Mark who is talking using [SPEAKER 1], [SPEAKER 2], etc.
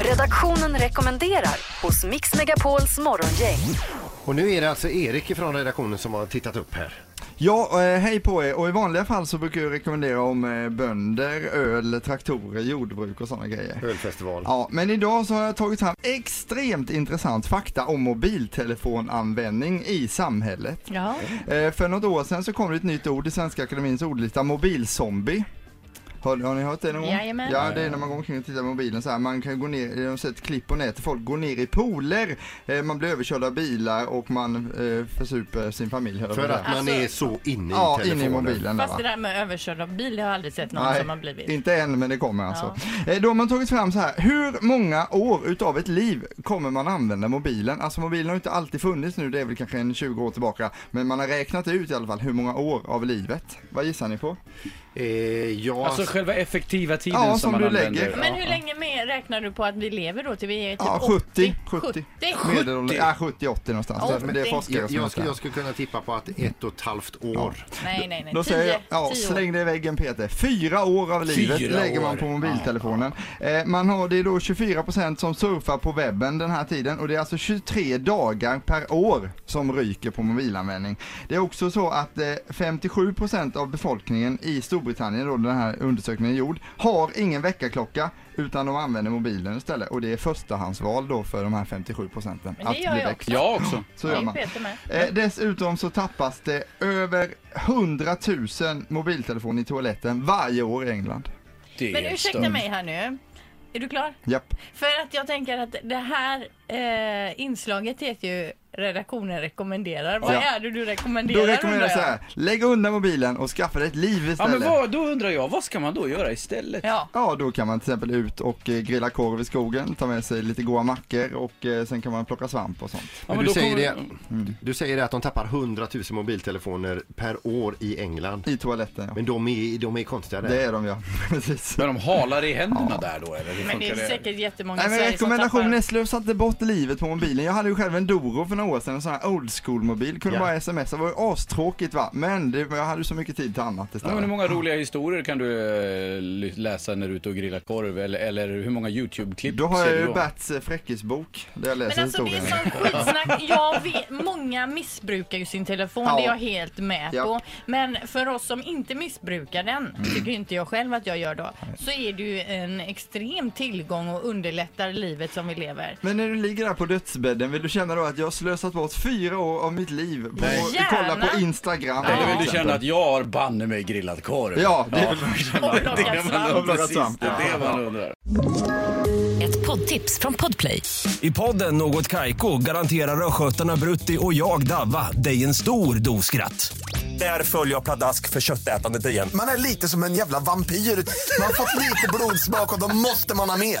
[SPEAKER 1] Redaktionen rekommenderar hos Mix Megapols morgongäng.
[SPEAKER 2] Och nu är det alltså Erik från redaktionen som har tittat upp här.
[SPEAKER 3] Ja, eh, hej på er. Och i vanliga fall så brukar jag rekommendera om eh, bönder, öl, traktorer, jordbruk och sådana grejer.
[SPEAKER 2] Ölfestival.
[SPEAKER 3] Ja, men idag så har jag tagit fram extremt intressant fakta om mobiltelefonanvändning i samhället.
[SPEAKER 4] Ja.
[SPEAKER 3] Eh, för något år sedan så kom det ett nytt ord i Svenska Akademins ordlista, mobilzombie. Har, har ni hört det någon gång?
[SPEAKER 4] Jajamän.
[SPEAKER 3] Ja, det är när man går omkring och tittar på mobilen så här. Man kan gå ner, de har sett klipp på nätet, folk går ner i pooler, eh, man blir överkörd av bilar och man eh, försuper sin familj. höll jag på
[SPEAKER 2] För
[SPEAKER 3] att
[SPEAKER 2] att
[SPEAKER 3] säga.
[SPEAKER 2] man är så inne i
[SPEAKER 3] Ja,
[SPEAKER 2] telefonen.
[SPEAKER 3] inne i mobilen. där,
[SPEAKER 4] Fast
[SPEAKER 3] va?
[SPEAKER 4] det där med överkörd av bil, jag har aldrig sett någon som har blivit.
[SPEAKER 3] inte än men det kommer alltså. Eh, Då har man tagit fram så här, hur många år utav ett liv kommer man använda mobilen? Alltså mobilen har ju inte alltid funnits nu, det är väl kanske en 20 år tillbaka. Men man har räknat ut i alla fall hur många år av livet. Vad gissar ni på?
[SPEAKER 4] Typ
[SPEAKER 2] Eh, ja,
[SPEAKER 5] Alltså
[SPEAKER 2] alltså,
[SPEAKER 5] själva effektiva tiden
[SPEAKER 3] Ja,
[SPEAKER 5] som,
[SPEAKER 3] som
[SPEAKER 5] man
[SPEAKER 3] du
[SPEAKER 5] använder.
[SPEAKER 3] lägger.
[SPEAKER 4] Men hur länge med räknar du på att vi lever då till vi är typ
[SPEAKER 3] Ja, 70,
[SPEAKER 4] 80?
[SPEAKER 3] 70.
[SPEAKER 4] 70?
[SPEAKER 3] Medelåldern? Ja, 70-80 någonstans.
[SPEAKER 4] Ja,
[SPEAKER 3] det, det är
[SPEAKER 4] men-
[SPEAKER 3] forskare
[SPEAKER 2] jag,
[SPEAKER 3] som
[SPEAKER 2] jag,
[SPEAKER 3] jag,
[SPEAKER 2] skulle, jag skulle kunna tippa på att ett och ett halvt år.
[SPEAKER 4] Nej, nej, nej.
[SPEAKER 3] Då
[SPEAKER 4] 10,
[SPEAKER 3] säger jag, ja,
[SPEAKER 4] 10 år.
[SPEAKER 3] släng det i väggen Peter. Fyra år av livet
[SPEAKER 5] Fyra
[SPEAKER 3] lägger man
[SPEAKER 5] år.
[SPEAKER 3] på mobiltelefonen. Eh, man har det är då 24% som surfar på webben den här tiden och det är alltså 23 dagar per år som ryker på mobilanvändning. Det är också så att eh, 57% av befolkningen i Storbritannien, då den här undersökningen är gjord, har ingen väckarklocka utan de använder mobilen istället och det är förstahandsval då för de här 57 procenten
[SPEAKER 4] Men det
[SPEAKER 3] att
[SPEAKER 4] gör
[SPEAKER 3] bli
[SPEAKER 4] jag
[SPEAKER 3] väckt.
[SPEAKER 4] också.
[SPEAKER 5] Jag också.
[SPEAKER 3] Så gör
[SPEAKER 4] Det är
[SPEAKER 3] man.
[SPEAKER 4] Peter med.
[SPEAKER 3] Eh, dessutom så tappas det över 100 000 mobiltelefoner i toaletten varje år i England.
[SPEAKER 5] Det
[SPEAKER 4] Men
[SPEAKER 5] är
[SPEAKER 4] ursäkta
[SPEAKER 5] stört.
[SPEAKER 4] mig här nu. Är du klar?
[SPEAKER 3] Japp.
[SPEAKER 4] För att jag tänker att det här eh, inslaget heter ju redaktionen rekommenderar. Vad
[SPEAKER 3] Ja.
[SPEAKER 4] är det du rekommenderar?
[SPEAKER 3] Då rekommenderar jag så
[SPEAKER 4] undrar
[SPEAKER 3] här, lägg undan mobilen och skaffa dig ett liv
[SPEAKER 5] Ja men
[SPEAKER 3] istället.
[SPEAKER 5] vad, då undrar jag, vad ska man då göra istället?
[SPEAKER 4] Ja.
[SPEAKER 3] Ja, då kan man till exempel ut och eh, grilla korv i skogen, ta med sig lite goda mackor och eh, sen kan man plocka svamp och sånt.
[SPEAKER 5] Ja,
[SPEAKER 2] Men du,
[SPEAKER 5] då
[SPEAKER 2] säger det,
[SPEAKER 5] kommer-
[SPEAKER 3] Mm.
[SPEAKER 2] du säger det att de tappar 100 000 mobiltelefoner per år i England.
[SPEAKER 3] I toaletten ja.
[SPEAKER 2] Men de är, de är konstiga där.
[SPEAKER 3] Det är de ja, precis.
[SPEAKER 5] Men de halar i händerna där då eller? Hur
[SPEAKER 4] Men det
[SPEAKER 5] funkar
[SPEAKER 4] är säkert jättemånga
[SPEAKER 3] Nej men
[SPEAKER 4] i Sverige som
[SPEAKER 3] rekommendationen är
[SPEAKER 4] tappar-
[SPEAKER 3] slösa inte bort livet på mobilen. Jag hade ju själv en Doro för några år sedan, en sån här old school mobil. Kunde
[SPEAKER 2] Ja.
[SPEAKER 3] bara smsa, det var ju astråkigt va. Men det, jag hade ju så mycket tid till annat
[SPEAKER 5] Ja,
[SPEAKER 3] istället.
[SPEAKER 5] men hur många roliga historier kan du eh, ly- läsa när du är ute och grillar korv? Eller, eller hur många YouTube-klipp
[SPEAKER 3] Då har
[SPEAKER 5] ser
[SPEAKER 3] jag
[SPEAKER 5] du
[SPEAKER 3] ju
[SPEAKER 5] då?
[SPEAKER 3] Berts eh, fräckisbok där jag läser
[SPEAKER 4] Men alltså det är
[SPEAKER 3] historien.
[SPEAKER 4] sån skitsnack. Jag vet, många missbrukar ju sin telefon,
[SPEAKER 3] Ja.
[SPEAKER 4] det är jag helt med
[SPEAKER 3] Ja.
[SPEAKER 4] på. Men för oss som inte missbrukar den, tycker inte jag själv att jag gör då, så är det ju en extrem tillgång och underlättar livet som vi lever.
[SPEAKER 3] Men när du ligger där på dödsbädden, vill du känna då att jag har slösat bort fyra år av mitt liv på
[SPEAKER 4] Nej.
[SPEAKER 3] att kolla på
[SPEAKER 4] Gärna.
[SPEAKER 3] Instagram?
[SPEAKER 5] Eller
[SPEAKER 3] till
[SPEAKER 5] vill du
[SPEAKER 3] exempel?
[SPEAKER 5] känna att jag har banne mig grillat korv?
[SPEAKER 3] Ja, det är väl
[SPEAKER 4] Och plockat
[SPEAKER 3] undrar.
[SPEAKER 4] svamp.
[SPEAKER 5] Precis, det är det man undrar.
[SPEAKER 1] Ett poddtips från Podplay.
[SPEAKER 6] I podden Något Kaiko garanterar östgötarna Brutti och jag, Davva, dig en stor dos skratt. Där följer jag pladask för köttätandet igen.
[SPEAKER 7] Man är lite som en jävla vampyr. Man har fått lite blodsmak och då måste man ha mer.